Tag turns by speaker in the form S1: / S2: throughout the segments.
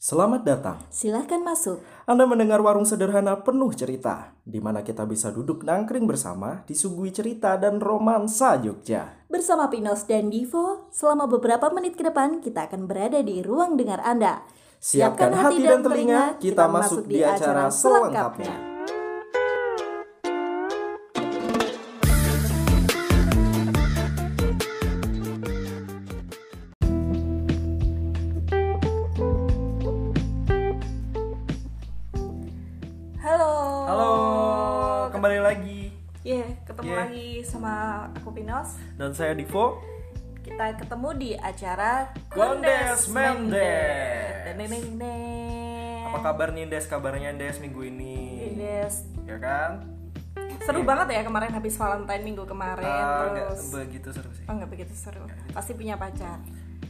S1: Selamat datang.
S2: Silahkan masuk.
S1: Anda mendengar warung sederhana penuh cerita, di mana kita bisa duduk nangkring bersama, disuguhi cerita dan romansa Jogja.
S2: Bersama Pinos dan Divo, selama beberapa menit ke depan kita akan berada di ruang dengar Anda.
S1: Siapkan hati dan telinga, kita masuk di acara selengkapnya.
S3: Halo.
S1: Halo, kembali lagi.
S3: Iya, ketemu
S1: Yeah.
S3: lagi sama aku Pinos.
S1: Dan saya Divo.
S3: Kita ketemu di acara
S1: Gondes Mendes.
S3: Neneng.
S1: Apa kabar nih Des? Kabarnya Des minggu ini?
S3: Yes.
S1: Ya kan?
S3: Seru banget ya kemarin habis Valentine minggu kemarin
S1: Ah, nggak
S3: terus.
S1: begitu seru sih.
S3: Oh, nggak begitu seru. Pasti punya pacar.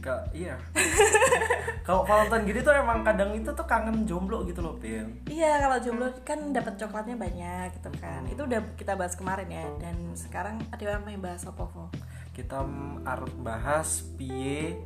S1: Ka- iya. Kalau Valentine gitu tuh emang kadang itu tuh kangen jomblo gitu loh, Pin.
S3: Iya, kalau jomblo kan dapat coklatnya banyak gitu kan. Itu udah kita bahas kemarin ya dan sekarang ada yang yang bahas apa, Vo?
S1: kita m- arep bahas piye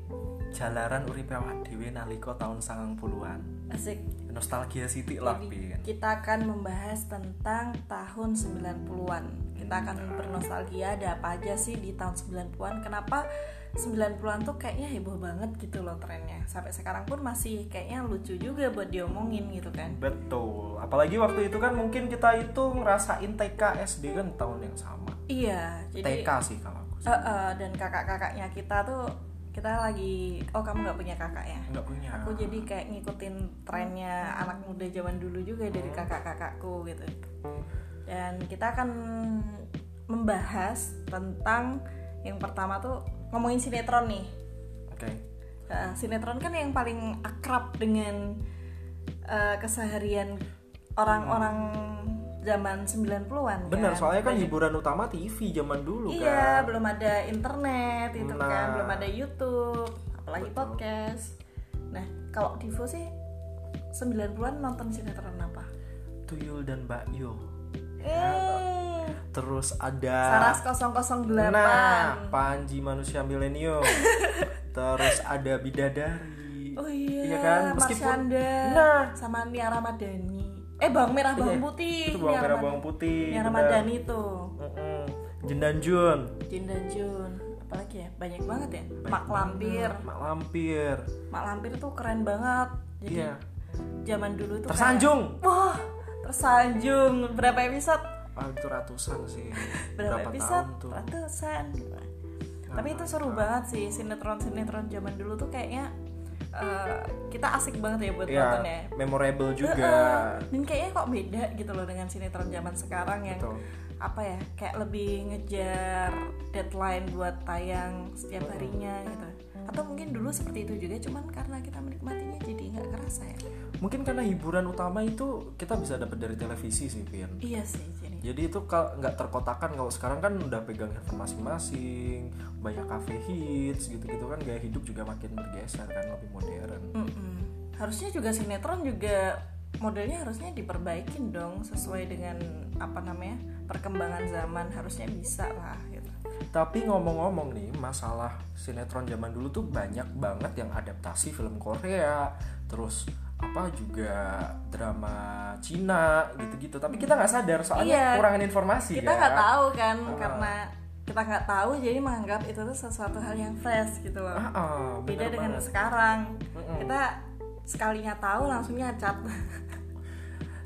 S1: jalaran uripe awak dhewe nalika taun 90-an.
S3: Asik.
S1: Nostalgia City lah, Pin.
S3: Kita akan membahas tentang tahun 90-an. Kita akan bernostalgia ada apa aja sih di tahun 90-an. Kenapa 90-an tuh kayaknya heboh banget gitu loh trennya. Sampai sekarang pun masih kayaknya lucu juga buat diomongin gitu kan.
S1: Betul. Apalagi waktu itu kan mungkin kita itu ngerasain TK SD kan tahun yang sama.
S3: Iya, jadi
S1: TK sih kalau aku.
S3: Eh, eh, dan kakak-kakaknya kita tuh kita lagi oh kamu nggak punya kakak ya?
S1: Enggak punya.
S3: Aku jadi kayak ngikutin trennya anak muda zaman dulu juga dari
S1: Oh.
S3: kakak-kakakku gitu. Dan kita akan membahas tentang yang pertama tuh ngomongin sinetron nih.
S1: Oke.
S3: Eh, sinetron kan yang paling akrab dengan eh, keseharian orang-orang zaman 90-an.
S1: Hmm. Bener,
S3: kan?
S1: soalnya kan hiburan utama TV zaman dulu
S3: Iya,
S1: kan.
S3: belum ada internet itu kan,
S1: Nah.
S3: belum ada YouTube, apalagi
S1: Betul.
S3: podcast. Nah, kalau Divo sih 90-an nonton sinetron apa?
S1: Tuyul dan Mbak Yo.
S3: Eh,
S1: Terus ada
S3: Saras 008.
S1: Nah, Panji manusia milenium. Terus ada Bidadari.
S3: oh iya,
S1: Iya kan?
S3: Marsyanda.
S1: Nah,
S3: sama Nia Ramadhani. Eh, Bawang Merah Bawang
S1: Iya,
S3: Putih.
S1: itu bawang
S3: Nia
S1: merah
S3: Ramad-
S1: bawang putih
S3: Nia
S1: benar.
S3: Ramadhani tuh.
S1: Mm-mm. Jin dan Jun
S3: Jin dan Jun. Apalagi ya, banyak banget ya. Mak Lampir.
S1: Mak Lampir
S3: Mak Lampir tuh keren banget. Jadi
S1: iya
S3: zaman dulu tuh kayak-
S1: tersanjung
S3: Wah, tersanjung. Berapa episode?
S1: ah, itu ratusan sih
S3: Berapa, episode?
S1: tahun tuh
S3: Ratusan.
S1: Nah,
S3: Tapi itu seru banget sih sinetron-sinetron zaman dulu tuh kayaknya eh, kita asik banget ya buat
S1: ya
S3: nonton ya.
S1: memorable juga
S3: Heeh. Iya. Dan kayaknya kok beda gitu loh dengan sinetron zaman sekarang yang
S1: Betul.
S3: apa ya kayak lebih ngejar deadline buat tayang setiap harinya gitu. Atau mungkin dulu seperti itu juga, cuman karena kita menikmatinya jadi nggak kerasa ya.
S1: mungkin karena hiburan utama itu kita bisa dapat dari televisi sih Vin
S3: Iya sih jadi.
S1: jadi itu kal- nggak terkotakan kalau sekarang kan udah pegang handphone masing-masing banyak cafe hits gitu-gitu kan gaya hidup juga makin bergeser kan lebih modern
S3: Mm-mm. Harusnya juga sinetron juga modelnya harusnya diperbaikin dong sesuai dengan apa namanya perkembangan zaman harusnya bisa lah gitu.
S1: Tapi ngomong-ngomong nih, masalah sinetron zaman dulu tuh banyak banget yang adaptasi film Korea, terus apa juga drama Cina gitu-gitu. Tapi kita nggak sadar soalnya
S3: Iya.
S1: kurangan informasi
S3: Kita
S1: kan.
S3: nggak tahu kan
S1: Ah.
S3: karena kita nggak tahu jadi menganggap itu tuh sesuatu hal yang fresh gitu loh.
S1: Ah, ah,
S3: Beda
S1: bener
S3: dengan
S1: banget.
S3: sekarang.
S1: Mm-mm.
S3: Kita sekalinya tahu langsung nyacat.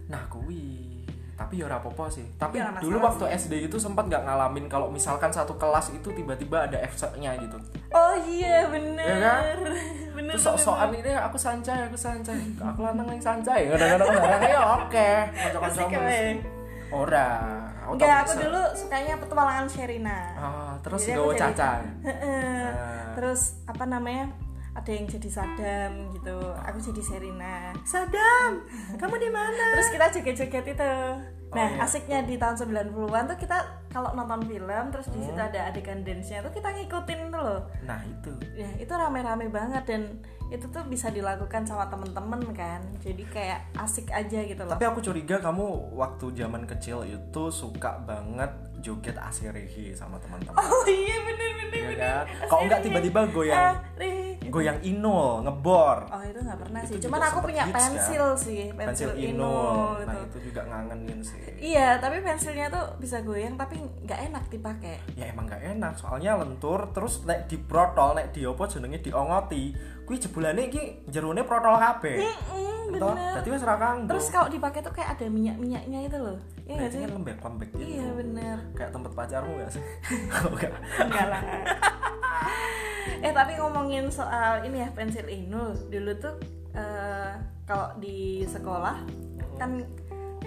S1: Nah, kuwi tapi ya ora apa-apa sih. Tapi
S3: Ya, nggak
S1: dulu
S3: masalah
S1: waktu SD itu sempat nggak ngalamin kalau misalkan satu kelas itu tiba-tiba ada efeknya gitu.
S3: oh iya bener.
S1: Iya kan?
S3: Bener.
S1: Terus sok-sokan ini aku sancai, aku sancai. Aku lanang yang sancai. Kadang-kadang orang ya oke. Kocok-kocok.
S3: Asik ya,
S1: mesti. Ora. Aku
S3: Enggak,
S1: tak
S3: aku
S1: bisa.
S3: dulu sukanya petualangan Sherina.
S1: Ah, terus
S3: Jadi aku
S1: gawe
S3: jadi-
S1: cacan.
S3: Heeh.
S1: Ah.
S3: terus apa namanya ada yang jadi Sadam gitu aku jadi Serina Sadam kamu di mana terus kita joget-joget itu nah
S1: iya.
S3: asiknya di tahun 90-an tuh kita kalau nonton film terus di situ
S1: Hmm.
S3: ada adegan dance-nya tuh kita ngikutin tuh loh
S1: Nah, itu.
S3: ya itu rame-rame banget dan itu tuh bisa dilakukan sama temen-temen kan jadi kayak asik aja gitu loh
S1: Tapi aku curiga kamu waktu zaman kecil itu suka banget joget asirehi sama teman-teman.
S3: oh iya bener bener
S1: Iya
S3: bener
S1: kan? Kalau enggak tiba-tiba goyang.
S3: Arihi,
S1: goyang inul ngebor
S3: Eh. Oh itu nggak pernah
S1: Itu
S3: sih.
S1: juga
S3: Cuman aku
S1: sempet
S3: punya
S1: hits, kan?
S3: pensil sih, pensil,
S1: pensil
S3: Inul
S1: inul nah
S3: gitu.
S1: itu juga ngangenin sih
S3: Iya, tapi pensilnya tuh bisa goyang tapi nggak enak dipakai.
S1: ya emang gak enak soalnya lentur terus nek di protol nek di apa jenenge diongoti kuwi jebulane iki jerone protol kabeh
S3: Mm,
S1: Entah,
S3: bener.
S1: dadi wis ra kanggo
S3: Terus kalau dipakai tuh kayak ada minyak-minyaknya itu loh. Iya nggak sih?
S1: Bajunya lembek-lembek gitu
S3: Iya bener.
S1: kayak tempat pacarmu gak sih Oh, enggak
S3: Enggak lah. eh tapi ngomongin soal ini ya pensil Inul dulu tuh eh, kalau di sekolah kan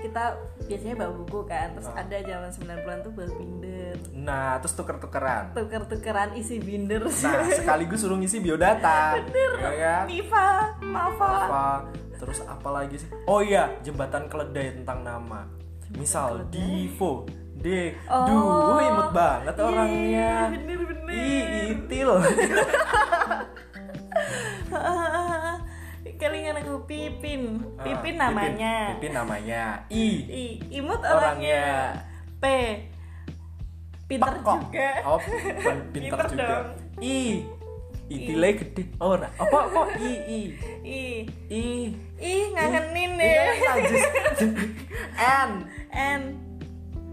S3: kita biasanya bawa buku kan terus ada zaman 90-an tuh bawa binder
S1: nah terus tuker-tukeran
S3: tuker-tukeran isi binder
S1: nah sekaligus suruh ngisi biodata bener ya, kan?
S3: Niva, Mava
S1: apa terus apa lagi sih oh iya jembatan keledai tentang nama misal Divo D
S3: Oh.
S1: duh imut banget orangnya
S3: Iya, bener-bener.
S1: i itil
S3: Kelingan aku Pipin
S1: Ah,
S3: Pipin namanya
S1: Pipin namanya i
S3: I, Imut orangnya
S1: orangnya
S3: P Pinter
S1: pekok
S3: juga
S1: oh bukan pinter
S3: Pinter
S1: juga
S3: dong.
S1: i itile gede Oh, ora apa kok i i
S3: I
S1: i
S3: I ngangenin ya.
S1: Iya,
S3: deh
S1: najis.
S3: N N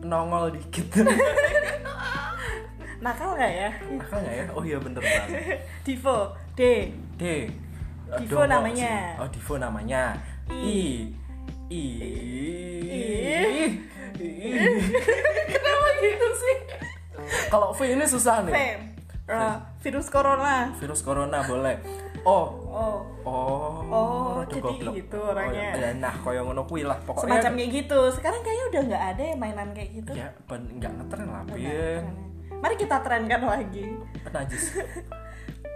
S1: nongol dikit
S3: Nakal gak ya?
S1: nakal nggak ya oh iya bener banget
S3: Divo D
S1: D.
S3: Divo
S1: Dongok
S3: namanya.
S1: sih. Oh, Divo namanya. I. I.
S3: I.
S1: I.
S3: Kenapa gitu sih?
S1: Kalau V ini susah
S3: V
S1: nih.
S3: Eh, Virus Corona
S1: Virus corona boleh. Oh.
S3: Oh
S1: Oh.
S3: Oh,
S1: rada
S3: jadi
S1: goblok.
S3: gitu orangnya.
S1: Oh, ya, nah, koyo ngono kuwi lah pokoknya.
S3: Semacam kayak gitu Sekarang kayaknya udah gak ada yang mainan kayak gitu
S1: ya iya. ben enggak ngetren lah,
S3: Udah nggak
S1: Bin.
S3: ada. Mari kita trenkan lagi
S1: Kan Najis.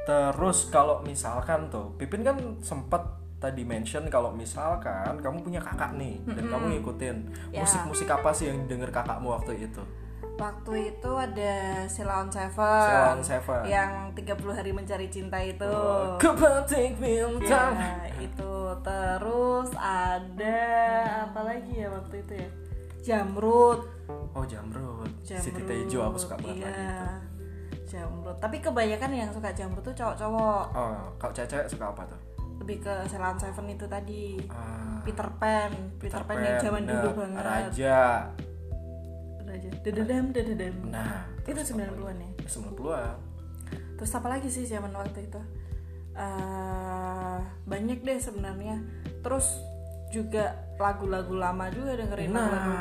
S1: Terus kalau misalkan tuh, Pipin kan sempet tadi mention kalau misalkan kamu punya kakak nih dan kamu ngikutin
S3: Ya.
S1: musik-musik apa sih yang denger kakakmu waktu itu?
S3: Waktu itu ada Silaon Seven
S1: Ceylon Seven. Oh,
S3: Yang 30 hari mencari cinta itu
S1: Kepatik bintang.
S3: Oh. Ya, itu terus ada apa lagi ya waktu itu ya? Jamrut.
S1: Oh jamrut.
S3: Jamrut.
S1: Siti Tejo aku suka banget
S3: iya.
S1: lagi itu.
S3: Jamrut. Tapi kebanyakan yang suka jamrut tuh cowok-cowok.
S1: Oh, kalau cewek suka apa tuh?
S3: Lebih ke Selan Seven itu tadi.
S1: Ah,
S3: Peter Pan, Peter, Pan, yang zaman dulu
S1: bener.
S3: banget.
S1: nah, Raja.
S3: Raja. Dededam, dededam.
S1: Nah,
S3: itu 90-an ya.
S1: 90-an.
S3: Terus apa lagi sih zaman waktu itu? Eh, banyak deh sebenarnya. Terus juga lagu-lagu lama juga dengerin
S1: Nah.
S3: lagu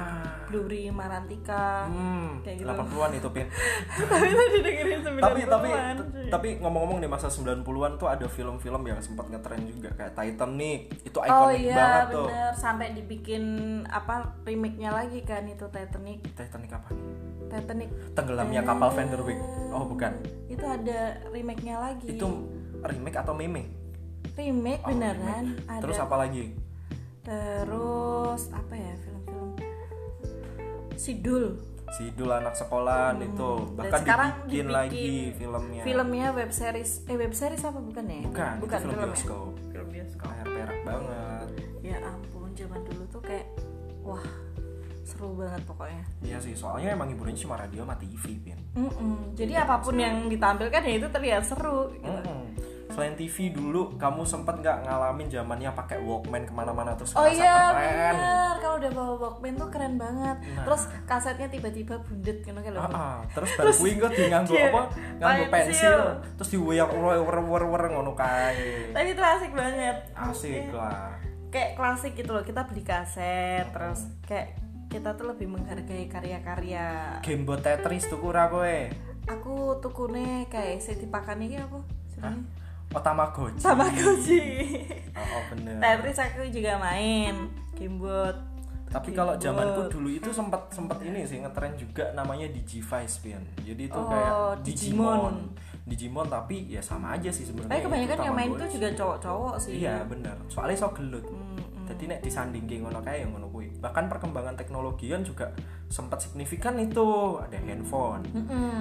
S3: Bluri Marantika.
S1: Hmm,
S3: Kayak gitu.
S1: 80-an itu, Pin.
S3: tapi tadi dengerin 90-an.
S1: tapi tapi t- tapi ngomong-ngomong di masa 90-an tuh ada film-film yang sempat ngetren juga kayak Titanic. Itu ikonik
S3: Oh iya
S1: banget tuh.
S3: bener sampai dibikin apa remake-nya lagi kan itu Titanic
S1: Titanic apa?
S3: Titanic Eh.
S1: Tenggelamnya kapal Vanderwijk. Oh, bukan.
S3: itu ada remake-nya lagi
S1: Itu remake atau meme?
S3: remake
S1: Oh,
S3: beneran
S1: remake.
S3: ada
S1: Terus apa lagi?
S3: terus apa ya film-film Sidul
S1: Sidul anak sekolah itu
S3: Hmm. Dan
S1: bahkan
S3: sekarang
S1: dibikin, lagi filmnya.
S3: filmnya web series eh web series apa bukan ya
S1: Bukan, itu film,
S3: film, ya?
S1: bioskop.
S3: film bioskop
S1: Layar perak banget.
S3: ya ampun zaman dulu tuh kayak wah seru banget pokoknya
S1: Iya sih, soalnya emang hiburannya cuma radio sama TV, Pin.
S3: Mm-mm. jadi apapun yang ditampilkan ya itu terlihat seru gitu.
S1: Iya. Mm-mm. Selain TV dulu, kamu sempet nggak ngalamin zamannya pakai Walkman kemana-mana terus
S3: Oh
S1: ngerasa
S3: iya
S1: keren?
S3: bener kalau udah bawa Walkman tuh keren banget.
S1: Nah.
S3: Terus kasetnya tiba-tiba bundet kan
S1: Ah,
S3: kayak loh.
S1: ah. terus baru kuwi engko di nganggo
S3: dia
S1: apa? Nganggo
S3: pensil.
S1: pensil, terus diwoyak wer-wer-wer ngono kae.
S3: Tapi itu asik banget.
S1: Asik lah.
S3: Iya. Kayak klasik gitu loh. Kita beli kaset terus kayak kita tuh lebih menghargai karya-karya.
S1: Game buat Tetris tuku ora kowe?
S3: Aku tukune kayak Siti Pakani iki apa? Jenenge?
S1: Otamagoci.
S3: Sama Koji.
S1: Oh, oh bener.
S3: Tetris aku juga main. Gamebot.
S1: Tapi kalau
S3: Keyboard.
S1: zamanku dulu itu sempat sempat ini sih ngetren juga namanya Digivice Pian. Jadi itu
S3: Oh,
S1: kayak
S3: Digimon.
S1: Digimon. Digimon tapi ya sama aja sih sebenarnya.
S3: Tapi kebanyakan
S1: Itu
S3: yang main itu
S1: Tamagotchi.
S3: juga cowok-cowok sih.
S1: Iya, bener. Soalnya so gelut. Jadi nek disandingke ngono kae ya ngono kuwi. Bahkan perkembangan teknologian juga sempat signifikan itu. Ada handphone.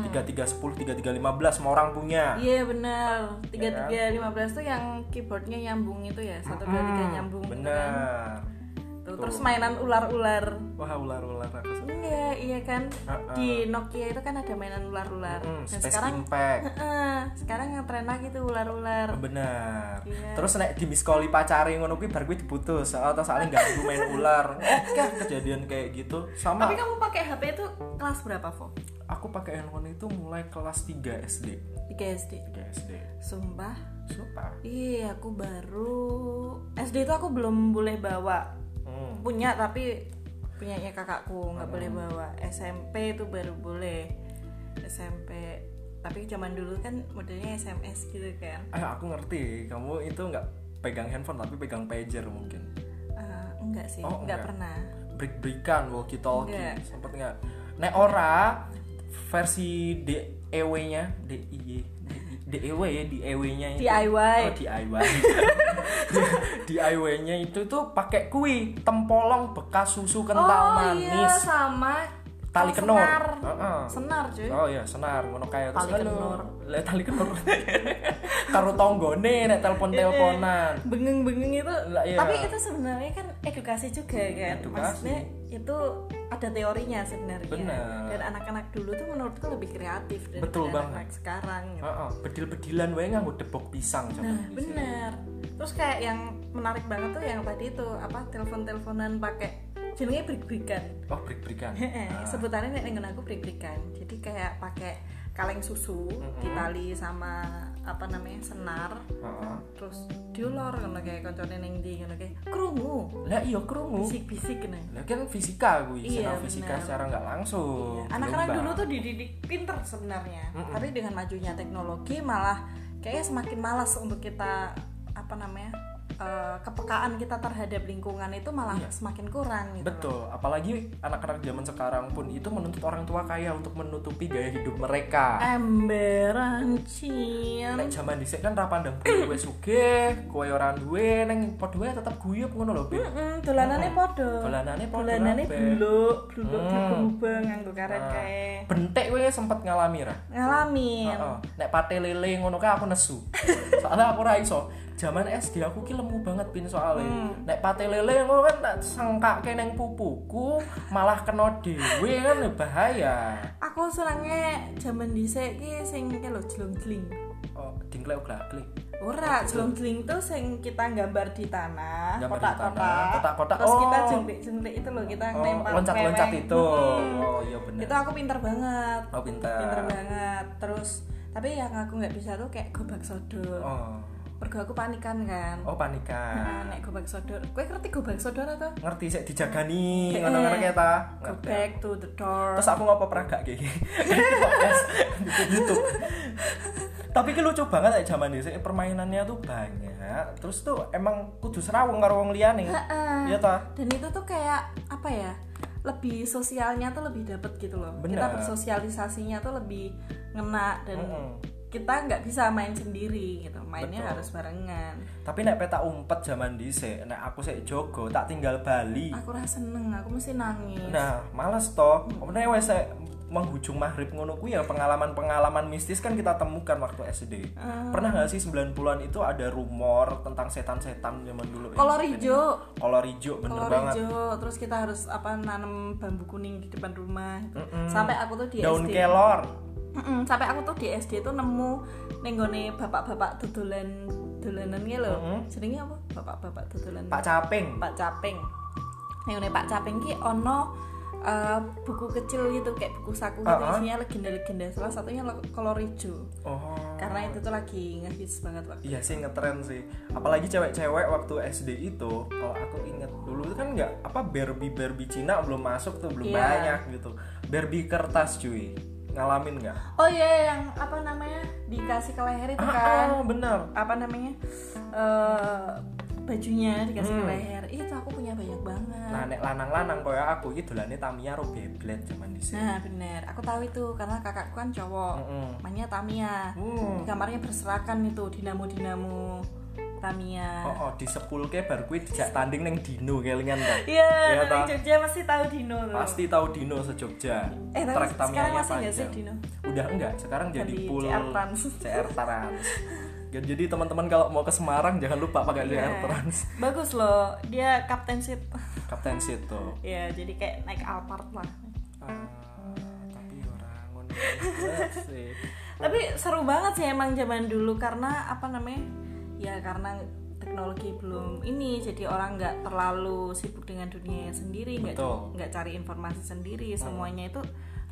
S1: 3310, 3315 semua orang punya.
S3: Iya benar. Tiga tiga lima belas tuh yang keyboardnya nyambung itu ya satu dua tiga nyambung. gitu
S1: Bener.
S3: Kan? gitu.
S1: Betul.
S3: Terus mainan ular-ular.
S1: Wah ular-ular aku suka.
S3: Iya, iya kan.
S1: Ah,
S3: Di Nokia itu kan ada mainan ular-ular.
S1: Mm,
S3: nah,
S1: Space
S3: sekarang
S1: Impact.
S3: Heeh, sekarang yang tren lagi tuh ular-ular.
S1: Bener.
S3: Iya.
S1: Terus nek di miskoli pacari ngono kuwi bar kuwi diputus atau saling ganggu main ular. Oke, kejadian kayak gitu. Sama
S3: Tapi kan- kamu pakai HP itu kelas berapa, Fo?
S1: aku pakai handphone itu mulai kelas 3 SD.
S3: 3 SD.
S1: 3 SD.
S3: Sumpah.
S1: Sumpah.
S3: Iya, aku baru SD itu aku belum boleh bawa.
S1: Hmm.
S3: Punya tapi punyanya kakakku nggak boleh bawa. SMP itu baru boleh. SMP tapi zaman dulu kan modelnya SMS gitu kan.
S1: Eh, aku ngerti. Kamu itu nggak pegang handphone tapi pegang pager mungkin.
S3: Eh, enggak sih,
S1: Oh, enggak.
S3: enggak pernah.
S1: Break-breakan walkie talkie
S3: Nggak.
S1: sempet nggak? Nek ora versi E DEW-nya, DIY, DEW ya, DEW-nya itu.
S3: DIY.
S1: Oh, DIY. DIY-nya itu tuh pakai kui tempolong bekas susu kental
S3: oh iya
S1: manis.
S3: sama
S1: Tali kenur.
S3: senar.
S1: Heeh.
S3: Senar cuy.
S1: Oh iya, senar ngono kaya terus
S3: Tali
S1: halo.
S3: kenur.
S1: Lah, tali kenur. Karo tanggane
S3: Iya,
S1: nek telepon-teleponan.
S3: bengeng-bengeng itu
S1: Lah, iya. Hmm,
S3: tapi itu sebenarnya kan edukasi juga kan
S1: Edukasi.
S3: maksudnya itu ada teorinya sebenarnya
S1: Benar.
S3: dan anak-anak dulu tuh menurutku lebih kreatif daripada
S1: Betul banget. Ah,
S3: anak-anak sekarang gitu.
S1: Heeh, bedil-bedilan wae nganggo debok pisang
S3: nah
S1: zaman dulu.
S3: benar terus kayak yang menarik banget tuh yang tadi itu apa telepon-teleponan pakai jenenge brik-brikan
S1: Oh, Ah, break-breakan.
S3: Heeh, sebutannya nek nengen aku brik-brikan jadi kayak pakai kaleng susu ditali sama apa namanya senar
S1: Heeh.
S3: terus diulur ngono kayak koncone ning ndi ngono kayak krungu
S1: Lah iya krungu.
S3: bisik-bisik nih
S1: Lah kan fisika kuwi,
S3: Iya,
S1: senang fisika
S3: benar.
S1: secara nggak langsung.
S3: anak-anak
S1: Oh, Lomba.
S3: dulu tuh dididik pinter sebenarnya tapi dengan majunya teknologi malah kayaknya semakin malas untuk kita apa namanya eh, kepekaan kita terhadap lingkungan itu malah semakin kurang gitu
S1: Iya. Betul, apalagi anak-anak zaman sekarang pun itu menuntut orang tua kaya untuk menutupi gaya hidup mereka.
S3: emberan cian
S1: Nek zaman dhisik kan ra pandang bulu kowe sugih, kowe ora duwe neng padha wae tetep guyub ngono lho, Beb.
S3: dolanane podo
S1: Dolanane podo
S3: dolanane
S1: kabeh.
S3: bluk bluk
S1: Hmm.
S3: berubah nganggo karet
S1: Nah,
S3: kae
S1: Bentek kowe sempet ngalami ra?
S3: ngalamin
S1: Heeh. Nek pate lele ngono kae aku nesu. Soalnya aku ra iso. Zaman SD aku ki lemu banget pin soalnya.
S3: Hmm.
S1: Nek pate lele ngono kan tak sengkake neng pupuku malah kena dhewe kan ya bahaya.
S3: aku senangnya zaman dhisik ki sing iki lho jelung-jeling.
S1: Oh, dingklek glaglek.
S3: Ora, jelung-jeling tuh sing kita gambar di tanah,
S1: Gambar di
S3: kotak-kotak.
S1: tanah, kotak-kotak.
S3: Terus kita
S1: Oh.
S3: jungklik-jungklik itu loh kita
S1: Oh,
S3: ngelempar
S1: loncat-loncat
S3: meweng.
S1: itu.
S3: Mm-mm.
S1: Oh, iya bener.
S3: Itu aku pinter banget.
S1: Oh, pintar.
S3: Hmm. Pinter banget. Terus tapi yang aku nggak bisa tuh kayak gobak sodor.
S1: Oh.
S3: Mergo aku panikan kan.
S1: Oh,
S3: Nah,
S1: panikan.
S3: nek gobak sodor. Kowe ngerti gobak sodor atau?
S1: Ngerti sik dijagani
S3: Eh,
S1: ngono-ngono kae ta?
S3: Go
S1: Ngerti.
S3: back to the door.
S1: terus aku ngopo pernah gak kayak gini Di podcast, di YouTube tapi ki lucu banget ya zaman dulu permainannya tuh banyak terus tuh emang kudu serawung karo wong liyane iya ta
S3: dan itu tuh kayak apa ya lebih sosialnya tuh lebih dapet gitu loh
S1: Bener.
S3: kita bersosialisasinya tuh lebih ngena dan
S1: Mm-mm.
S3: kita nggak bisa main sendiri gitu mainnya
S1: Betul.
S3: harus barengan
S1: tapi nek peta umpet zaman dhisik nek aku sik jogo tak tinggal Bali
S3: aku rasa seneng aku mesti nangis
S1: nah males toh Omne wes sik menghujung maghrib ngono kuwi ya pengalaman-pengalaman mistis kan kita temukan waktu SD. Pernah nggak sih 90-an itu ada rumor tentang setan-setan zaman dulu? ya?
S3: kolor hijau
S1: Kolor hijau bener
S3: kolor
S1: banget.
S3: hijau terus kita harus apa nanam bambu kuning di depan rumah gitu. sampai aku tuh di
S1: Daun
S3: SD
S1: kelor.
S3: Mm-mm, sampai aku tuh di SD tuh nemu nenggone bapak-bapak dodolan dolanannya loh jenenge apa bapak-bapak dodolan
S1: Pak Caping.
S3: Pak Caping. Nah, ini Pak Caping ki ono eh, buku kecil gitu kayak buku saku gitu
S1: Ah, ah.
S3: isinya legenda-legenda. Salah satunya lo- kolor hijau.
S1: Oh.
S3: Karena itu tuh lagi ngehits banget waktu.
S1: Iya sih ngetren sih. Apalagi cewek-cewek waktu SD itu, kalau aku inget dulu itu kan nggak apa Barbie Barbie Cina belum masuk tuh belum
S3: Iya.
S1: banyak gitu. Barbie kertas cuy, ngalamin nggak?
S3: Oh iya yang apa namanya? Dikasih ke leher itu kan.
S1: Ah, ah, bener.
S3: Apa namanya? eh bajunya dikasih ke
S1: Hmm.
S3: leher. Ih, Itu aku punya banyak banget.
S1: Nah, nek lanang-lanang koyo aku iki dolane Tamiya ro Beyblade zaman dhisik.
S3: Nah, bener. Aku tahu itu karena kakakku kan cowok.
S1: Mm-mm.
S3: Mainnya Tamiya.
S1: Hmm.
S3: Di kamarnya berserakan itu dinamo-dinamo Tamiya.
S1: Oh, oh di sepulke bar kuwi dijak tanding neng Dino kelingan kan.
S3: Iya,
S1: Iya,
S3: orang
S1: Ta.
S3: Jogja masih tahu Dino tuh.
S1: Pasti tahu Dino sejogja.
S3: Eh, tapi
S1: Trek
S3: sekarang
S1: Tamiyanya
S3: masih nggak sih
S1: panjang.
S3: Dino?
S1: udah enggak sekarang jadi
S3: Jadi
S1: pool
S3: CR Trans.
S1: CR Trans. Ya, jadi teman-teman kalau mau ke Semarang jangan lupa pakai
S3: Iya.
S1: CR Trans
S3: Bagus loh, dia kapten sip.
S1: Kapten Sid tuh.
S3: ya jadi kayak naik Alphard lah
S1: Ah, tapi orang ngono banget sih.
S3: tapi seru banget sih emang zaman dulu karena apa namanya ya karena teknologi belum ini jadi orang nggak terlalu sibuk dengan dunianya sendiri nggak
S1: Betul.
S3: nggak cari informasi sendiri semuanya itu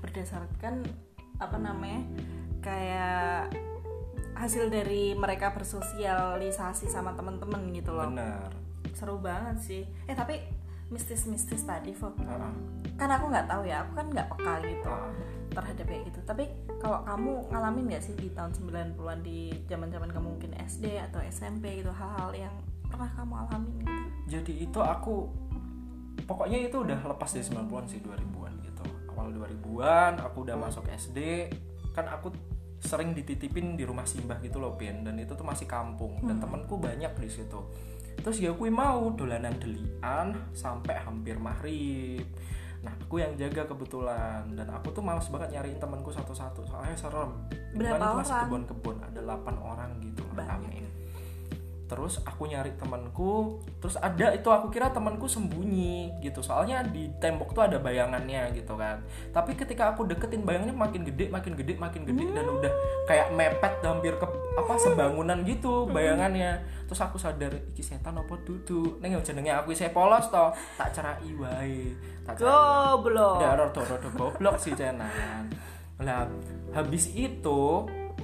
S3: berdasarkan apa namanya kayak hasil dari mereka bersosialisasi sama temen-temen gitu loh
S1: Benar.
S3: seru banget sih eh tapi mistis-mistis tadi Fo
S1: Ah,
S3: kan aku nggak tahu ya aku kan nggak peka gitu
S1: ah.
S3: terhadap kayak gitu tapi kalau kamu ngalamin nggak sih di tahun 90-an di zaman zaman kamu mungkin SD atau SMP gitu hal-hal yang pernah kamu alamin gitu
S1: Jadi itu aku pokoknya itu udah lepas dari 90-an sih 2000-an gitu. Awal 2000-an aku udah masuk SD, kan aku sering dititipin di rumah simbah gitu loh Pin dan itu tuh masih kampung
S3: Hmm.
S1: dan temanku banyak di situ. Terus ya aku mau dolanan delian sampai hampir maghrib. Nah, aku yang jaga kebetulan dan aku tuh males banget nyariin temanku satu-satu soalnya serem. Lingkungan
S3: Berapa
S1: itu masih
S3: orang?
S1: kebon-kebon, ada 8 orang gitu.
S3: Banyak.
S1: rame terus aku nyari temanku terus ada itu aku kira temanku sembunyi gitu soalnya di tembok tuh ada bayangannya gitu kan tapi ketika aku deketin bayangnya makin gede makin gede makin gede dan udah kayak mepet hampir ke apa sebangunan gitu bayangannya terus aku sadar iki setan apa dudu neng yo jenenge aku isih polos toh tak cerai wae tak cerai wae.
S3: goblok
S1: Ya rodo-rodo goblok sih cenan. Nah, habis itu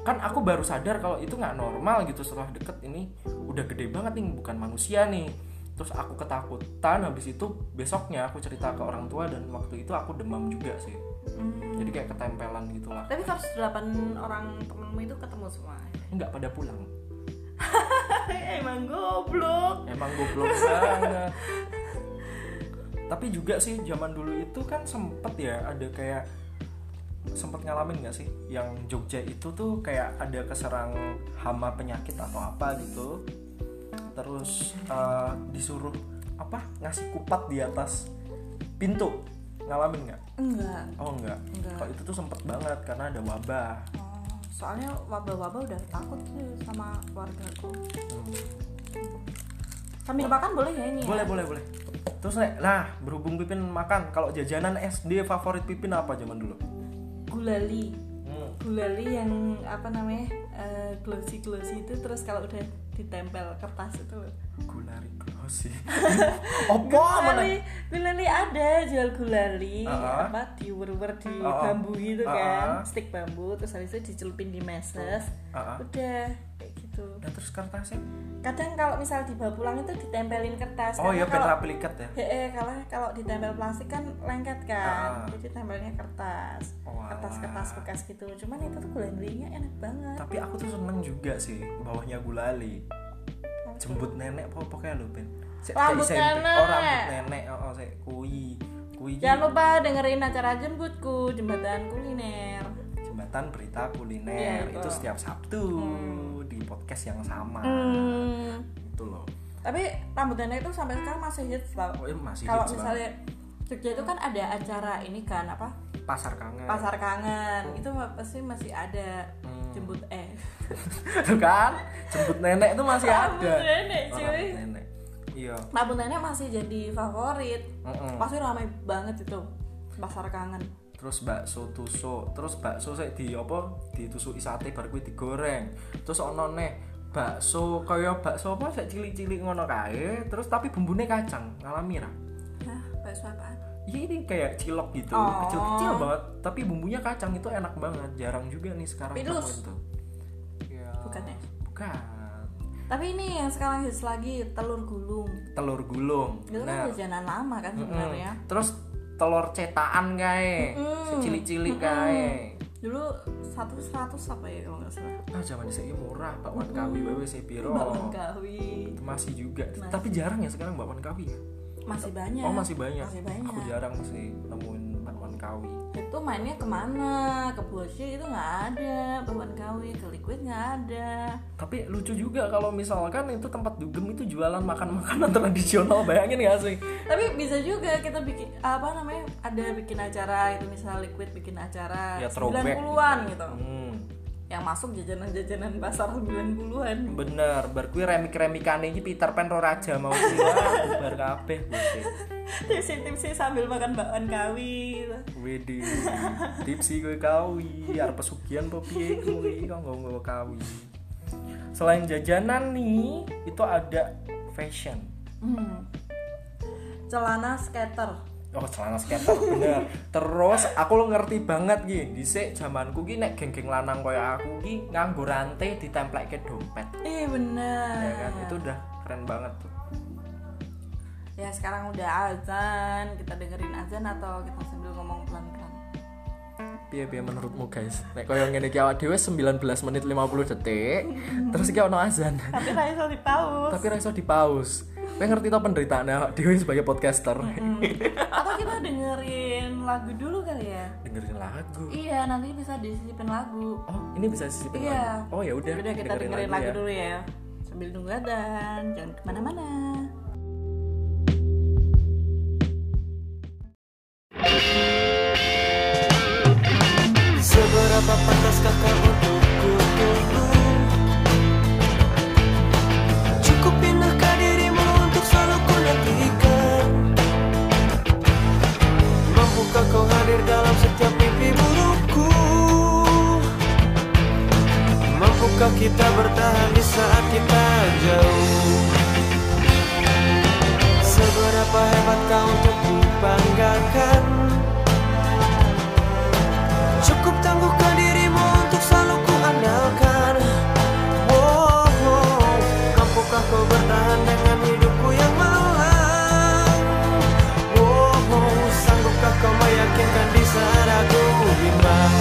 S1: kan aku baru sadar kalau itu nggak normal gitu setelah deket ini udah gede banget nih bukan manusia nih terus aku ketakutan habis itu besoknya aku cerita ke orang tua dan waktu itu aku demam juga sih
S3: Hmm.
S1: jadi kayak ketempelan gitulah
S3: tapi kalau 8 orang temenmu itu ketemu semua
S1: nggak pada pulang
S3: emang goblok
S1: emang goblok banget tapi juga sih zaman dulu itu kan sempet ya ada kayak sempet ngalamin nggak sih yang Jogja itu tuh kayak ada keserang hama penyakit atau apa gitu terus eh, disuruh apa ngasih kupat di atas pintu ngalamin nggak
S3: enggak
S1: oh nggak
S3: Nggak.
S1: kalau itu tuh sempet banget karena ada wabah
S3: Oh, soalnya wabah-wabah udah takut sih sama keluargaku sambil makan boleh ya ini ya?
S1: boleh boleh boleh terus Nek, nah berhubung Pipin makan kalau jajanan SD favorit Pipin apa zaman dulu
S3: gulali
S1: Hmm.
S3: gulali yang apa namanya glossy glossy itu terus kalau udah ditempel kertas itu loh
S1: Gulari glossy. Opo Oh, mana?
S3: gulali gulali ada jual gulali
S1: Ah.
S3: apa diwer-wer di
S1: Ah.
S3: bambu gitu
S1: Ah.
S3: kan stick bambu terus habis itu dicelupin di meses
S1: Ah.
S3: udah kayak gitu
S1: Udah terus kertasnya?
S3: kadang kalau misal dibawa pulang itu ditempelin kertas
S1: Oh
S3: karena
S1: iya
S3: kalau
S1: Petra Pelikat ya.
S3: Eh, kalau kalau ditempel plastik kan lengket kan,
S1: Ah.
S3: jadi tempelnya kertas,
S1: Walah.
S3: kertas-kertas bekas gitu. Cuman itu tuh gulalinya enak banget.
S1: Tapi aku tuh seneng juga sih bawahnya gulali. Jembut nenek apa pokoknya lu Ben. Sek-
S3: Rambut
S1: sek- SMP.
S3: nenek. Ya,
S1: Oh rambut nenek. Oh, oh sek kui. Kui gitu.
S3: Jangan lupa dengerin acara jemputku jembatan kuliner.
S1: jembatan berita
S3: Iya, Hmm.
S1: kuliner
S3: itu.
S1: itu setiap Sabtu di podcast yang sama.
S3: Hmm.
S1: Itu loh.
S3: Tapi rambut nenek itu sampai sekarang masih hits tau.
S1: Oh, iya, masih
S3: Kalau
S1: hits banget.
S3: misalnya Jogja itu kan ada acara ini kan apa
S1: Pasar kangen.
S3: pasar kangen itu pasti masih ada
S1: Hmm.
S3: jemput eh
S1: Tuh kan? Jembut nenek itu masih
S3: Rambut
S1: ada.
S3: nenek,
S1: Oh,
S3: cuy.
S1: rambut nenek. Iya.
S3: rambut nenek masih jadi favorit
S1: Mm-mm.
S3: pasti ramai banget itu pasar kangen
S1: terus bakso tusuk terus bakso sik di apa ditusuk sate bar kuwi digoreng terus ono neh bakso kaya bakso apa sik cilik-cilik ngono kae terus tapi bumbune kacang ngalami ra
S3: Hah, bakso apaan?
S1: Iya ini kayak cilok gitu,
S3: Oh.
S1: kecil-kecil banget, tapi bumbunya kacang itu enak banget, jarang juga nih sekarang ketemu
S3: Pidus.
S1: itu. Ya,
S3: Bukan ya?
S1: Bukan.
S3: Tapi ini yang sekarang hits lagi telur gulung.
S1: Telur gulung.
S3: Itu
S1: Nah,
S3: kan jajanan lama kan
S1: mm-mm.
S3: sebenarnya.
S1: Terus telur cetaan kae,
S3: Mm-mm.
S1: cilik-cilik kae.
S3: Dulu satu seratus apa ya kalau nggak salah?
S1: Ah zaman saya murah bakwan kawi wewe saya piro.
S3: Bakwan Hmm. kawi.
S1: Masih juga.
S3: Masih.
S1: Tapi jarang ya sekarang bakwan kawi ya.
S3: Masih banyak.
S1: Oh masih banyak.
S3: Masih banyak.
S1: Aku jarang sih nemuin bakwan kawi.
S3: Itu mainnya kemana? Ke Bosnya itu nggak ada. Bakwan kawi ke liquid nggak ada.
S1: Tapi lucu juga kalau misalkan itu tempat dugem itu jualan makan-makanan tradisional bayangin gak sih?
S3: Tapi bisa juga kita bikin apa namanya? Ada bikin acara itu misalnya liquid bikin acara
S1: Ya, throwback.
S3: 90-an gitu.
S1: Hmm.
S3: yang masuk jajanan-jajanan pasar 90-an.
S1: bener berkuwi remik-remikane iki Peter Pan ro raja mau sira bubar kabeh mesti
S3: Tipsi-tipsi sambil makan bakwan kawi. gitu.
S1: Wede, tipsi gue kawi, arep pesugihan apa piye kuwi kok nggo nggo kawi. Selain jajanan nih, itu ada fashion.
S3: Hmm. Celana skater.
S1: Oh, celana skater bener. Terus aku ngerti banget gini, dhisik zamanku ki nek geng-geng lanang kaya aku ki nganggo rantai ditempelke dompet.
S3: Iya bener.
S1: Ya kan, itu udah keren banget tuh.
S3: Ya sekarang udah azan, kita dengerin azan atau kita sambil ngomong pelan-pelan.
S1: Piye piye menurutmu guys? Nek koyo ngene iki awak dhewe 19 menit 50 detik, terus iki ono azan.
S3: Tapi saya iso dipaus.
S1: tapi rasa di pause gue ngerti tau penderitaan awak Dewi sebagai podcaster
S3: Atau kita dengerin lagu dulu kali ya.
S1: dengerin lagu
S3: Iya, nanti bisa disisipin lagu.
S1: oh ini bisa sisipin
S3: Iya.
S1: lagu oh ya udah
S3: Udah kita dengerin, lagu dulu ya. Sambil nunggu azan, jangan kemana-mana.
S4: Seberapa pantas kakak untukku tunggu Cukup pindahkah dirimu untuk selalu ku nantikan Mampukah kau hadir dalam setiap mimpi burukku Mampukah kita bertahan di saat kita jauh Seberapa hebat kau untuk kubanggakan Cukup tangguhkan dirimu untuk selalu kuandalkan Wow, wow. Mampukah kau bertahan dengan hidupku yang malang Wow, wow. Sanggupkah kau meyakinkan di saat aku bimbang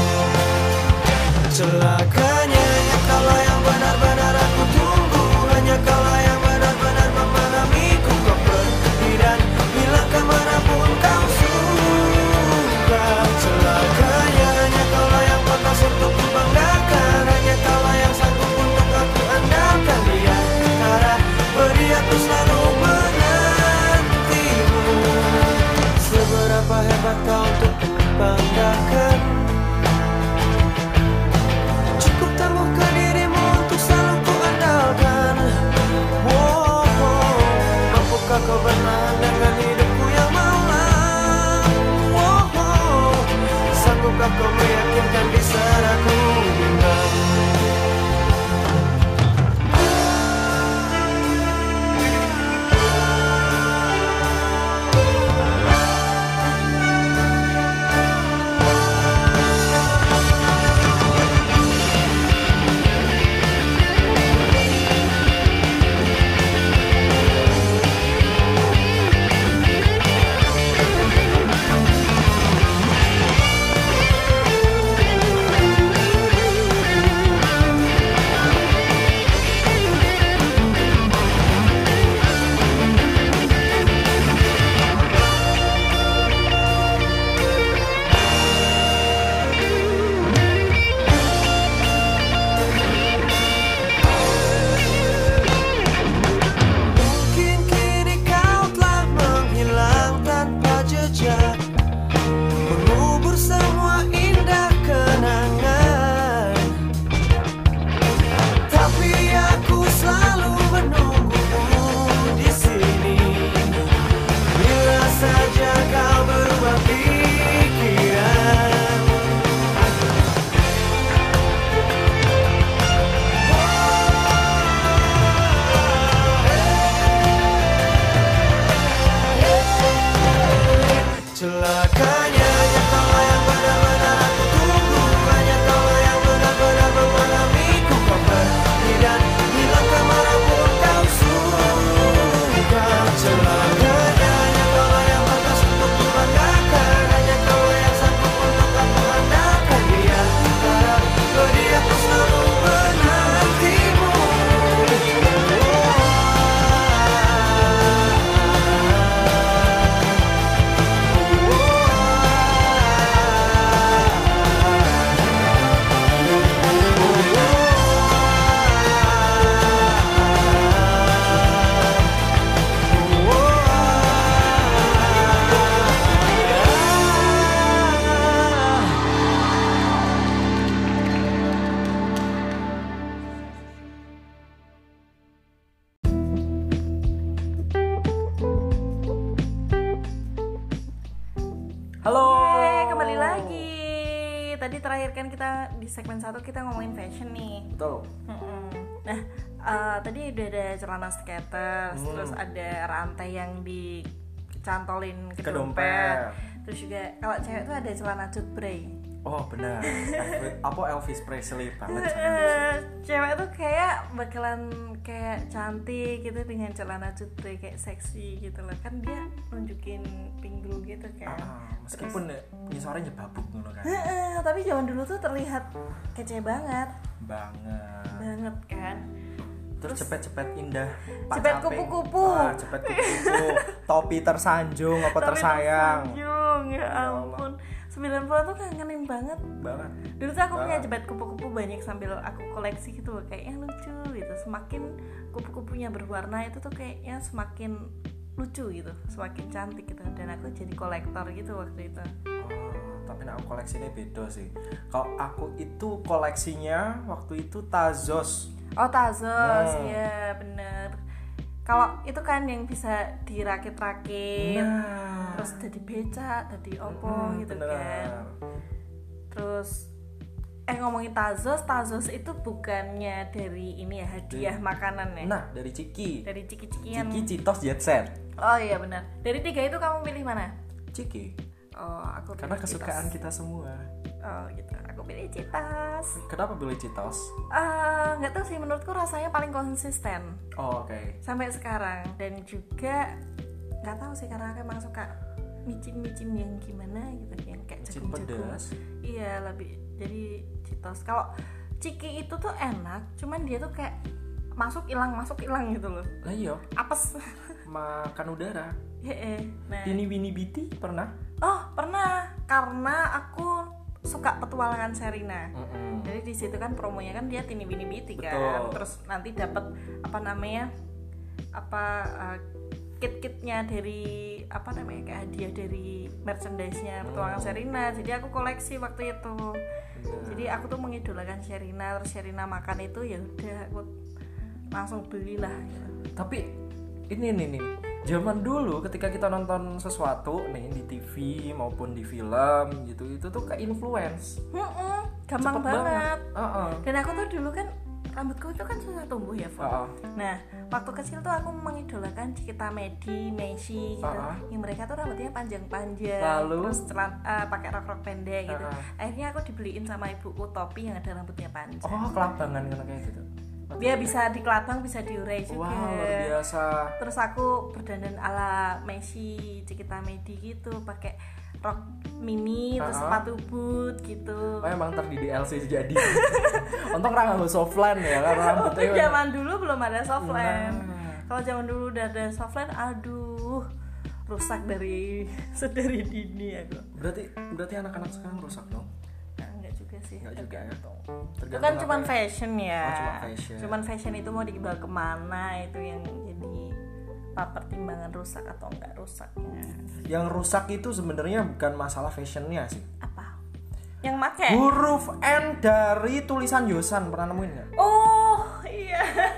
S4: Celakanya hanya kalau yang benar-benar aku tunggu Hanya kalau yang benar-benar memahamiku Kau pergi dan bilang kemanapun kau suka Celakanya hanya kalau yang pantas untuk kubanggakan Hanya kalau yang sanggup untuk aku andalkan Dia antara beri aku selalu menantimu Seberapa hebat kau untuk kubanggakan Cukup tangguhkan dirimu untuk selalu kuandalkan Wow, mampukah kau bertahan dengan hidupku yang malang Wow, sanggupkah kau meyakinkan di saat aku bimbang
S1: Halo.
S3: Yeay, kembali lagi. Tadi terakhir kan kita di segmen satu kita ngomongin fashion nih.
S1: Betul.
S3: Mm-mm. Nah, eh, tadi udah ada celana skaters,
S1: Hmm.
S3: terus ada rantai yang dicantolin ke,
S1: Ke
S3: dompet.
S1: dompet.
S3: Terus juga kalau cewek tuh ada celana cutbray.
S1: Oh benar. Elvis- Apa Elvis Presley banget sama dia.
S3: Eh, cewek tuh kayak bakalan kayak cantik gitu dengan celana cutbray kayak seksi gitu loh. Kan dia nunjukin pinggul gitu
S1: Ah,
S3: kan.
S1: ah, meskipun ya, punya suaranya babuk ngono kan.
S3: Heeh, Eh, tapi zaman dulu tuh terlihat kece banget,
S1: Banget.
S3: banget kan.
S1: Terus cepet-cepet indah.
S3: Cepet
S1: Caping.
S3: kupu-kupu.
S1: Ah, cepet kupu-kupu. Topi tersanjung apa
S3: Tapi
S1: tersayang.
S3: tersanjung, ya
S1: Ya Allah.
S3: ampun. 90 tuh kangenin banget.
S1: Banget.
S3: Dulu tuh aku punya
S1: Banget.
S3: jebat kupu-kupu banyak sambil aku koleksi gitu loh, kayaknya lucu gitu. Semakin kupu-kupunya berwarna itu tuh kayaknya semakin lucu gitu, semakin cantik gitu. Dan aku jadi kolektor gitu waktu itu.
S1: Oh, tapi nah, aku koleksinya beda sih. Kalau aku itu koleksinya waktu itu Tazos.
S3: Oh Tazos,
S1: Hmm.
S3: ya bener. Kalau itu kan yang bisa dirakit-rakit.
S1: Nah.
S3: Iya. terus jadi becak jadi opo
S1: Hmm,
S3: gitu
S1: bener.
S3: kan terus eh ngomongin tazos tazos itu bukannya dari ini ya hadiah makanan ya
S1: Nah, dari Ciki.
S3: dari ciki-cikian
S1: Ciki Citos Jet Set.
S3: oh iya benar dari tiga itu kamu pilih mana
S1: Ciki.
S3: oh aku
S1: Karena
S3: pilih
S1: kesukaan kita semua.
S3: Citos. oh gitu aku pilih citas
S1: Kenapa pilih Citos?
S3: Eh, nggak tahu sih menurutku rasanya paling konsisten
S1: Oh, oke.
S3: sampai sekarang dan juga nggak tahu sih karena aku emang suka micin-micin yang gimana gitu yang kayak
S1: Micin
S3: jagung-jagung
S1: pedas.
S3: iya lebih jadi citos kalau ciki itu tuh enak cuman dia tuh kayak masuk hilang masuk hilang gitu loh
S1: Lah iya,
S3: apes
S1: makan udara.
S3: Heeh. nah
S1: Ini Winnie Biti pernah?
S3: oh pernah karena aku suka petualangan Serina
S1: Hmm.
S3: jadi di situ kan promonya kan dia tini bini biti kan
S1: Betul.
S3: terus nanti dapat apa namanya apa eh, kit-kitnya dari apa namanya kayak hadiah dari merchandise-nya petualangan
S1: Hmm.
S3: Sherina jadi aku koleksi waktu itu jadi aku tuh mengidolakan Sherina terus Sherina makan itu ya udah aku langsung belilah gitu.
S1: Tapi ini nih nih. Zaman dulu ketika kita nonton sesuatu nih di TV maupun di film gitu itu tuh ke influence.
S3: Mm-mm, gampang
S1: Cepet
S3: banget.
S1: Heeh.
S3: dan aku tuh dulu kan rambutku itu kan susah tumbuh ya Fon.
S1: Heeh.
S3: Nah, waktu kecil tuh aku mengidolakan Cikita Medi, Messi gitu.
S1: Ah, ah.
S3: Yang mereka tuh rambutnya panjang-panjang,
S1: Lalu?
S3: terus celan eh, pakai rok-rok pendek gitu.
S1: Ah,
S3: Akhirnya aku dibeliin sama ibuku topi yang ada rambutnya panjang.
S1: Oh, kelabangan kan kayak gitu.
S3: Dia bisa di kelabang, bisa diurai juga.
S1: Wah, luar biasa.
S3: Terus aku berdandan ala Messi, Cikita Medi gitu, pakai rok mini, terus
S1: Ah, ah.
S3: sepatu boot gitu.
S1: Oh, emang ntar di DLC jadi. Untung ra nggak softline ya, karena
S3: Untuk
S1: rambutnya
S3: zaman dulu belum ada softland.
S1: Nah.
S3: Kalau zaman dulu udah ada softland, aduh rusak dari sedari dini aku.
S1: Berarti berarti anak-anak sekarang rusak dong?
S3: Nah, enggak juga sih.
S1: Enggak juga ya.
S3: Itu
S1: Tergantung
S3: kan
S1: apa
S3: cuman
S1: ya.
S3: fashion ya.
S1: Oh, cuman fashion.
S3: Cuman fashion itu mau dibawa kemana itu yang jadi apa pertimbangan rusak atau enggak rusaknya
S1: Yang rusak itu sebenarnya bukan masalah fashionnya sih.
S3: apa yang make
S1: Huruf N dari tulisan Yosan pernah nemuin nggak?
S3: oh iya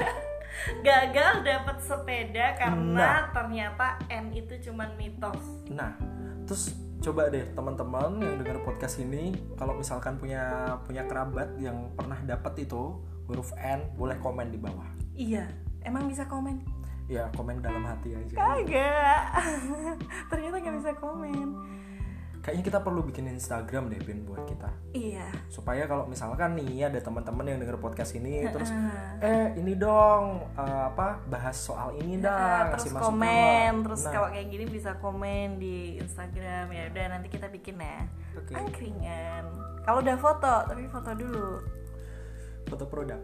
S3: gagal dapat sepeda karena ternyata n itu cuman mitos
S1: Nah, terus coba deh teman-teman yang dengar podcast ini, kalau misalkan punya punya kerabat yang pernah dapat itu huruf N, boleh komen di bawah.
S3: Iya, emang bisa komen?
S1: Ya komen dalam hati aja.
S3: Kagak. Ternyata nggak bisa komen.
S1: Kayaknya kita perlu bikin Instagram deh, Bin, buat kita.
S3: Iya.
S1: supaya kalau misalkan nih ada teman-teman yang denger podcast ini terus eh ini dong eh, apa bahas soal ini
S3: Nah,
S1: dah
S3: terus
S1: kasih masukan
S3: komen,
S1: lah.
S3: terus
S1: Nah,
S3: kalau kayak gini bisa komen di Instagram ya. Udah nanti kita bikin ya.
S1: oke.
S3: Angkringan. Kalau udah foto, tapi foto dulu
S1: foto produk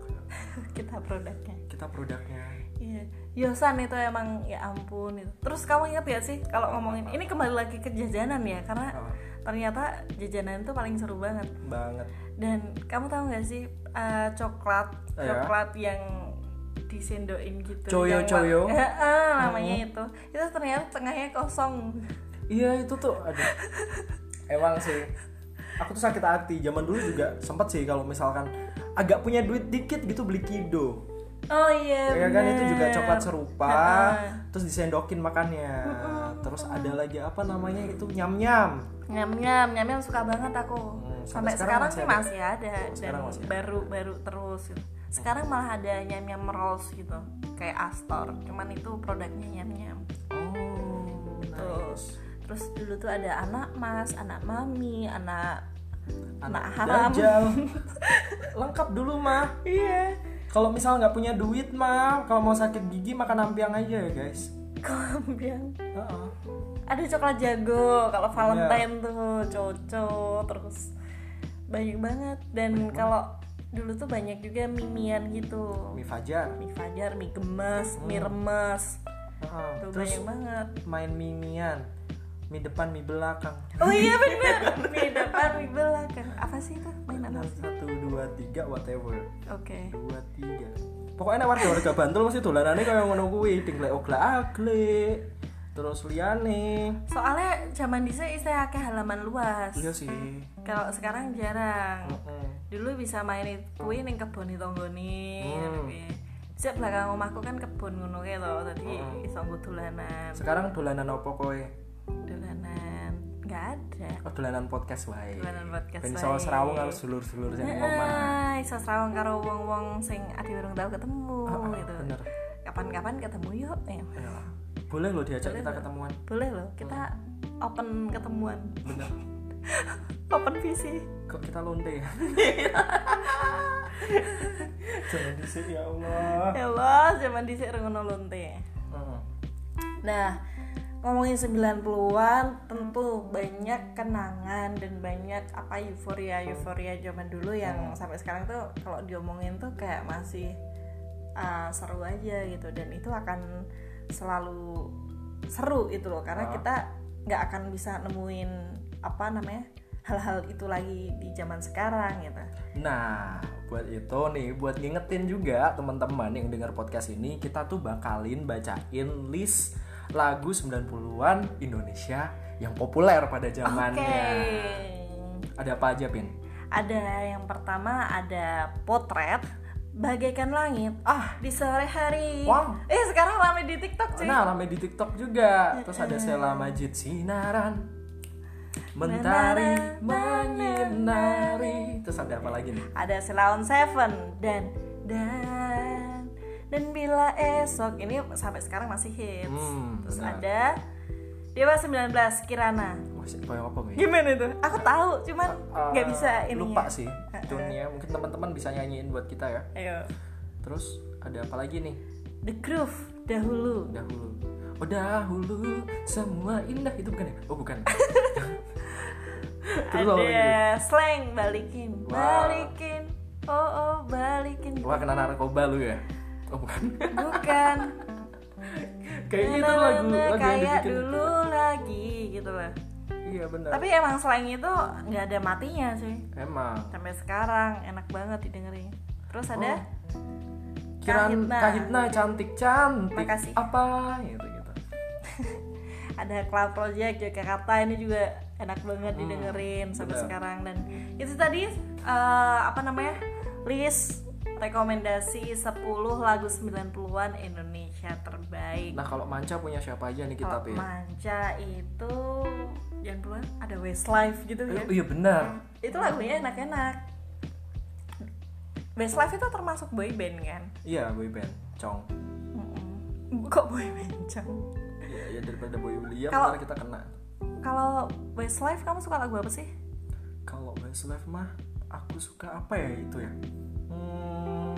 S3: kita produknya.
S1: kita produknya
S3: Iya. Yosan itu emang ya ampun itu. Terus kamu ingat gak sih kalau ngomongin ini kembali lagi ke jajanan ya karena
S1: Ah,
S3: ternyata jajanan itu paling seru banget.
S1: banget
S3: Dan kamu tahu nggak sih eh, coklat
S1: Iya.
S3: coklat yang disendokin gitu.
S1: Coyo,
S3: yang-
S1: coyo. Hmm.
S3: Eh, eh, namanya itu. Itu ternyata tengahnya kosong.
S1: iya itu tuh aduh emang sih aku tuh sakit hati zaman dulu juga sempet sih kalau misalkan agak punya duit dikit gitu beli kido
S3: Oh iya.
S1: ya kan itu juga
S3: bener.
S1: coklat serupa
S3: Heeh.
S1: terus disendokin makannya terus ada lagi apa namanya itu nyam nyam
S3: nyam nyam nyam nyam suka banget aku
S1: Hmm,
S3: sampai,
S1: sampai sekarang
S3: sekarang, sih masih
S1: masih
S3: ada,
S1: Sampai
S3: dan
S1: sekarang masih ada.
S3: baru baru terus gitu. sekarang malah ada nyam nyam rolls gitu kayak Astor cuman itu produknya nyam nyam
S1: oh
S3: Terus. terus dulu tuh ada anak mas anak mami anak anak
S1: anak
S3: haram
S1: dajal lengkap dulu mah
S3: iya
S1: kalau misal nggak punya duit mah kalau mau sakit gigi makan ampiang aja ya guys
S3: kemudian
S1: Heeh.
S3: ada coklat jago kalau
S1: Iya.
S3: Valentine tuh coco terus banyak banget dan kalau dulu tuh banyak juga mimian gitu
S1: mie fajar
S3: mie fajar mie gemes mie remes
S1: Heeh.
S3: tuh
S1: terus
S3: banyak banget
S1: main mimian mie depan mie belakang
S3: oh iya bener mie depan mie belakang apa sih itu mainan apa sih?
S1: satu dua tiga whatever
S3: oke
S1: dua tiga pokoknya warga warga Bantul mesti dolanannya kayak ngono kuwi dinglek oglak aglek terus liane
S3: soalnya zaman dhisik saya akeh halaman luas
S1: iya Oh. sih
S3: kalau sekarang jarang
S1: Heeh.
S3: dulu bisa main kuwi ning kebon tanggone
S1: Hmm.
S3: Sejak belakang omahku kan kebun ngono kae lho, tadi
S1: Hmm.
S3: iso nggo dolanan.
S1: sekarang dolanan opo kowe
S3: Dolanan enggak ada.
S1: Oh, dolanan podcast wae
S3: Dolanan podcast
S1: ben
S3: wae.
S1: sawah serawung harus dulur-dulur sing ngomong mana
S3: Nah, iso serawang karo wong-wong sing ade urung tau ketemu
S1: Heeh,
S3: gitu.
S1: bener.
S3: Kapan-kapan ketemu yuk. Eh,
S1: Ayolah. boleh lo diajak kita ketemuan
S3: boleh loh, kita open ketemuan.
S1: bener
S3: open visi.
S1: kok kita lonte ya jangan disik ya Allah
S3: Ya Allah, zaman dhisik ngono lonte.
S1: Heeh.
S3: Nah, ngomongin 90-an tentu banyak kenangan dan banyak apa euforia-euforia zaman dulu yang sampai sekarang tuh kalau diomongin tuh kayak masih uh, seru aja gitu dan itu akan selalu seru itu loh karena
S1: Ah.
S3: kita nggak akan bisa nemuin apa namanya hal-hal itu lagi di zaman sekarang gitu.
S1: Nah, buat itu nih, buat ngingetin juga teman-teman yang dengar podcast ini, kita tuh bakalin bacain list lagu 90-an Indonesia yang populer pada
S3: Oke.
S1: zamannya. Ada apa aja, Pin?
S3: Ada yang pertama ada potret bagaikan langit. Ah, di sore hari.
S1: Wow.
S3: Eh, sekarang rame di TikTok cuy.
S1: Nah, rame di TikTok juga. Terus ada Sela Majid Sinaran. Mentari menyinari. Terus ada apa lagi nih?
S3: Ada Selaon Seven dan dan dan bila esok ini sampai sekarang masih hits.
S1: Hmm,
S3: Terus
S1: benar.
S3: ada Dewa 19 Kirana.
S1: Wah, sih, kayak apa gue?
S3: Gimana itu? Aku tahu, cuman nggak
S1: Eh,
S3: bisa ini.
S1: Lupa sih. Tunnya mungkin teman-teman bisa nyanyiin buat kita ya.
S3: Ayo.
S1: Terus ada apa lagi nih?
S3: The Groove dahulu.
S1: dahulu oh dahulu semua indah itu bukan ya oh bukan Terus apa lagi?
S3: ada slang balikin
S1: Wow.
S3: balikin oh oh balikin
S1: wah kena narkoba lu ya oh bukan
S3: bukan
S1: kayaknya itu lagu lagu
S3: Na-na-na,
S1: yang
S3: kayak
S1: dibikin
S3: dulu lagi gitu loh
S1: iya benar
S3: tapi emang slang itu nggak ada matinya sih
S1: emang
S3: sampai sekarang enak banget didengerin terus ada
S1: Oh. kiran
S3: Kahitna.
S1: kahitna cantik cantik
S3: Makasih.
S1: apa gitu gitu
S3: ada Cloud Project Jakarta ini juga enak banget didengerin sampai
S1: Hmm, benar.
S3: sekarang dan itu tadi eh, apa namanya list rekomendasi 10 lagu 90-an Indonesia terbaik.
S1: nah gitu, ya. kalau manca punya siapa aja nih kita
S3: Kalau
S1: pin
S3: manca itu jangan duluan ada Westlife gitu
S1: Eh,
S3: ya.
S1: iya benar
S3: Itu lagunya enak-enak. Westlife itu termasuk boy band kan?
S1: iya boyband cong
S3: Mm-mm. Kok boy band Cang?
S1: iya ya, daripada boy Ulia
S3: Kalau-
S1: ntar kita kena
S3: Kalau Westlife kamu suka lagu apa sih?
S1: kalau Westlife mah aku suka apa ya itu ya hmm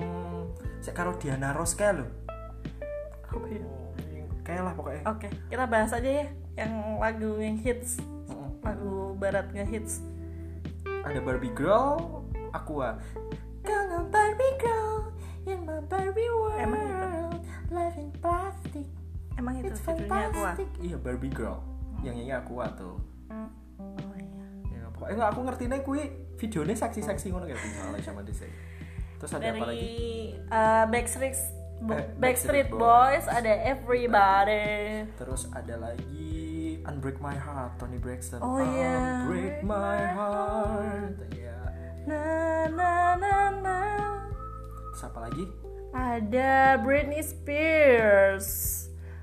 S1: saya karo Diana Ross kayak lo
S3: Apa ya?
S1: kayak lah pokoknya
S3: Oke, kita bahas aja ya yang lagu yang hits,
S1: Mm-mm.
S3: lagu barat ngehits.
S1: ada Barbie Girl Aqua kangen Barbie Girl in my Barbie world
S3: Emang
S1: life in plastic
S3: Emang itu judulnya aku ah?
S1: iya Barbie Girl yang nyanyi Aqua tuh
S3: Oh iya.
S1: ya, pokoknya nggak aku ngerti nih kui videonya seksi-seksi ngono kayak misalnya sama Disney terus ada apa
S3: Dari
S1: lagi
S3: eh, Backstreet Bo-
S1: Eh,
S3: Backstreet
S1: Backstreet
S3: Boys ada Everybody.
S1: terus ada lagi Unbreak My Heart Tony Braxton
S3: Oh, iya.
S1: Unbreak My Heart ya
S3: Na na na na.
S1: terus apa lagi
S3: Ada Britney Spears.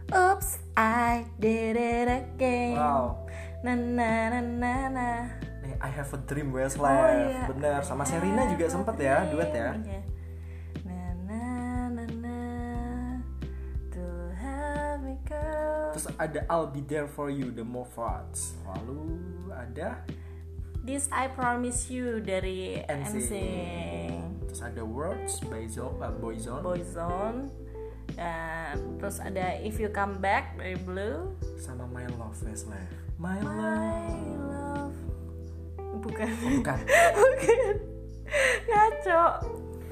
S3: Oops, I did it
S1: Iya.
S3: na na na na na.
S1: Nih, I Have a Dream Westlife.
S3: Oh, iya.
S1: Bener, sama Serina juga sempet ya, duet ya.
S3: Na na na na. Tuhan Mika.
S1: Terus ada I'll Be There For You, The Movats. Lalu ada
S3: This I Promise You dari NSYNC.
S1: NSYNC. Terus ada Words by Zo- uh, Boyzone.
S3: Boyzone dan terus ada If You Come Back dari Blue
S1: sama My Love Westlife. My,
S3: I
S1: Love.
S3: Love bukan
S1: Oh, Bukan.
S3: bukan ngaco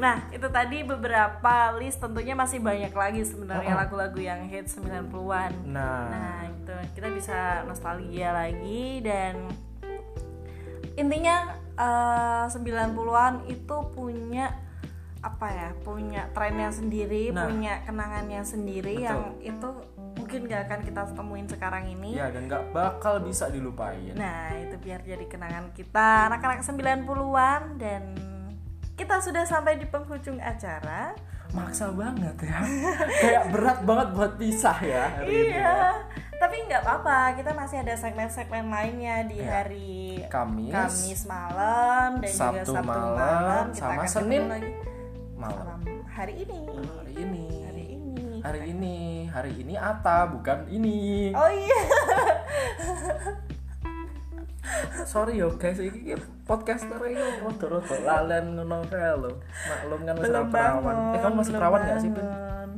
S3: nah itu tadi beberapa list tentunya masih banyak lagi sebenarnya lagu-lagu yang hit 90-an
S1: Nah,
S3: nah itu kita bisa nostalgia lagi dan intinya eh, 90-an itu punya apa ya punya trennya sendiri
S1: Nah.
S3: punya kenangannya
S1: Betul.
S3: sendiri yang itu mungkin gak akan kita temuin sekarang ini
S1: ya dan nggak bakal bisa dilupain.
S3: Nah, itu biar jadi kenangan kita anak-anak 90-an dan kita sudah sampai di penghujung acara.
S1: Maksa banget ya. Kayak berat banget buat pisah ya hari ini ya.
S3: Iya. Tapi nggak apa-apa, kita masih ada segmen-segmen lainnya di
S1: Iya.
S3: hari
S1: Kamis,
S3: Kamis malam dan juga
S1: Sabtu
S3: Sabtu malam,
S1: malam,
S3: Kita
S1: sama
S3: akan ketemu
S1: Senin
S3: lagi
S1: malam
S3: malam hari ini.
S1: hari ini.
S3: Hari ini.
S1: Hari ini, hari ini Ata bukan ini.
S3: Oh iya.
S1: Sorry yo guys, iki iki podcaster iki rodo-rodo lalen ngono kae lho. Maklum kan masih
S3: Belum
S1: perawan.
S3: bangun.
S1: Eh kan masih
S3: belum
S1: perawan gak sih, Pin?
S3: bangun.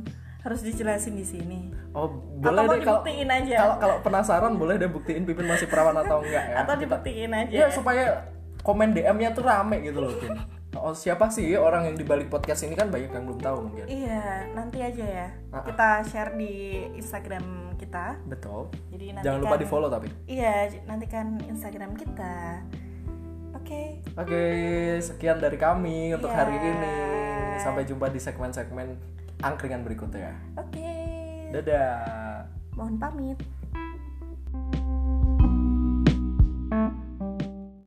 S3: Harus dijelasin di sini.
S1: Oh, boleh
S3: mau
S1: deh kalau
S3: dibuktiin aja?
S1: Kalau kalau penasaran boleh deh buktiin Pipin masih perawan atau enggak ya.
S3: Atau dibuktiin aja.
S1: Iya, supaya komen DM-nya tuh rame gitu loh, Pin. Oh, siapa sih orang yang dibalik podcast ini kan banyak yang belum tahu mungkin.
S3: Iya, nanti aja ya.
S1: Ah, ah.
S3: Kita share di Instagram kita.
S1: Betul.
S3: Jadi nanti kan-
S1: Jangan lupa di-follow tapi.
S3: Iya, j- nantikan Instagram kita. Oke.
S1: Oke, sekian dari kami untuk
S3: Iya.
S1: hari ini. Sampai jumpa di segmen-segmen angkringan berikutnya.
S3: Oke.
S1: Dadah.
S3: Mohon pamit.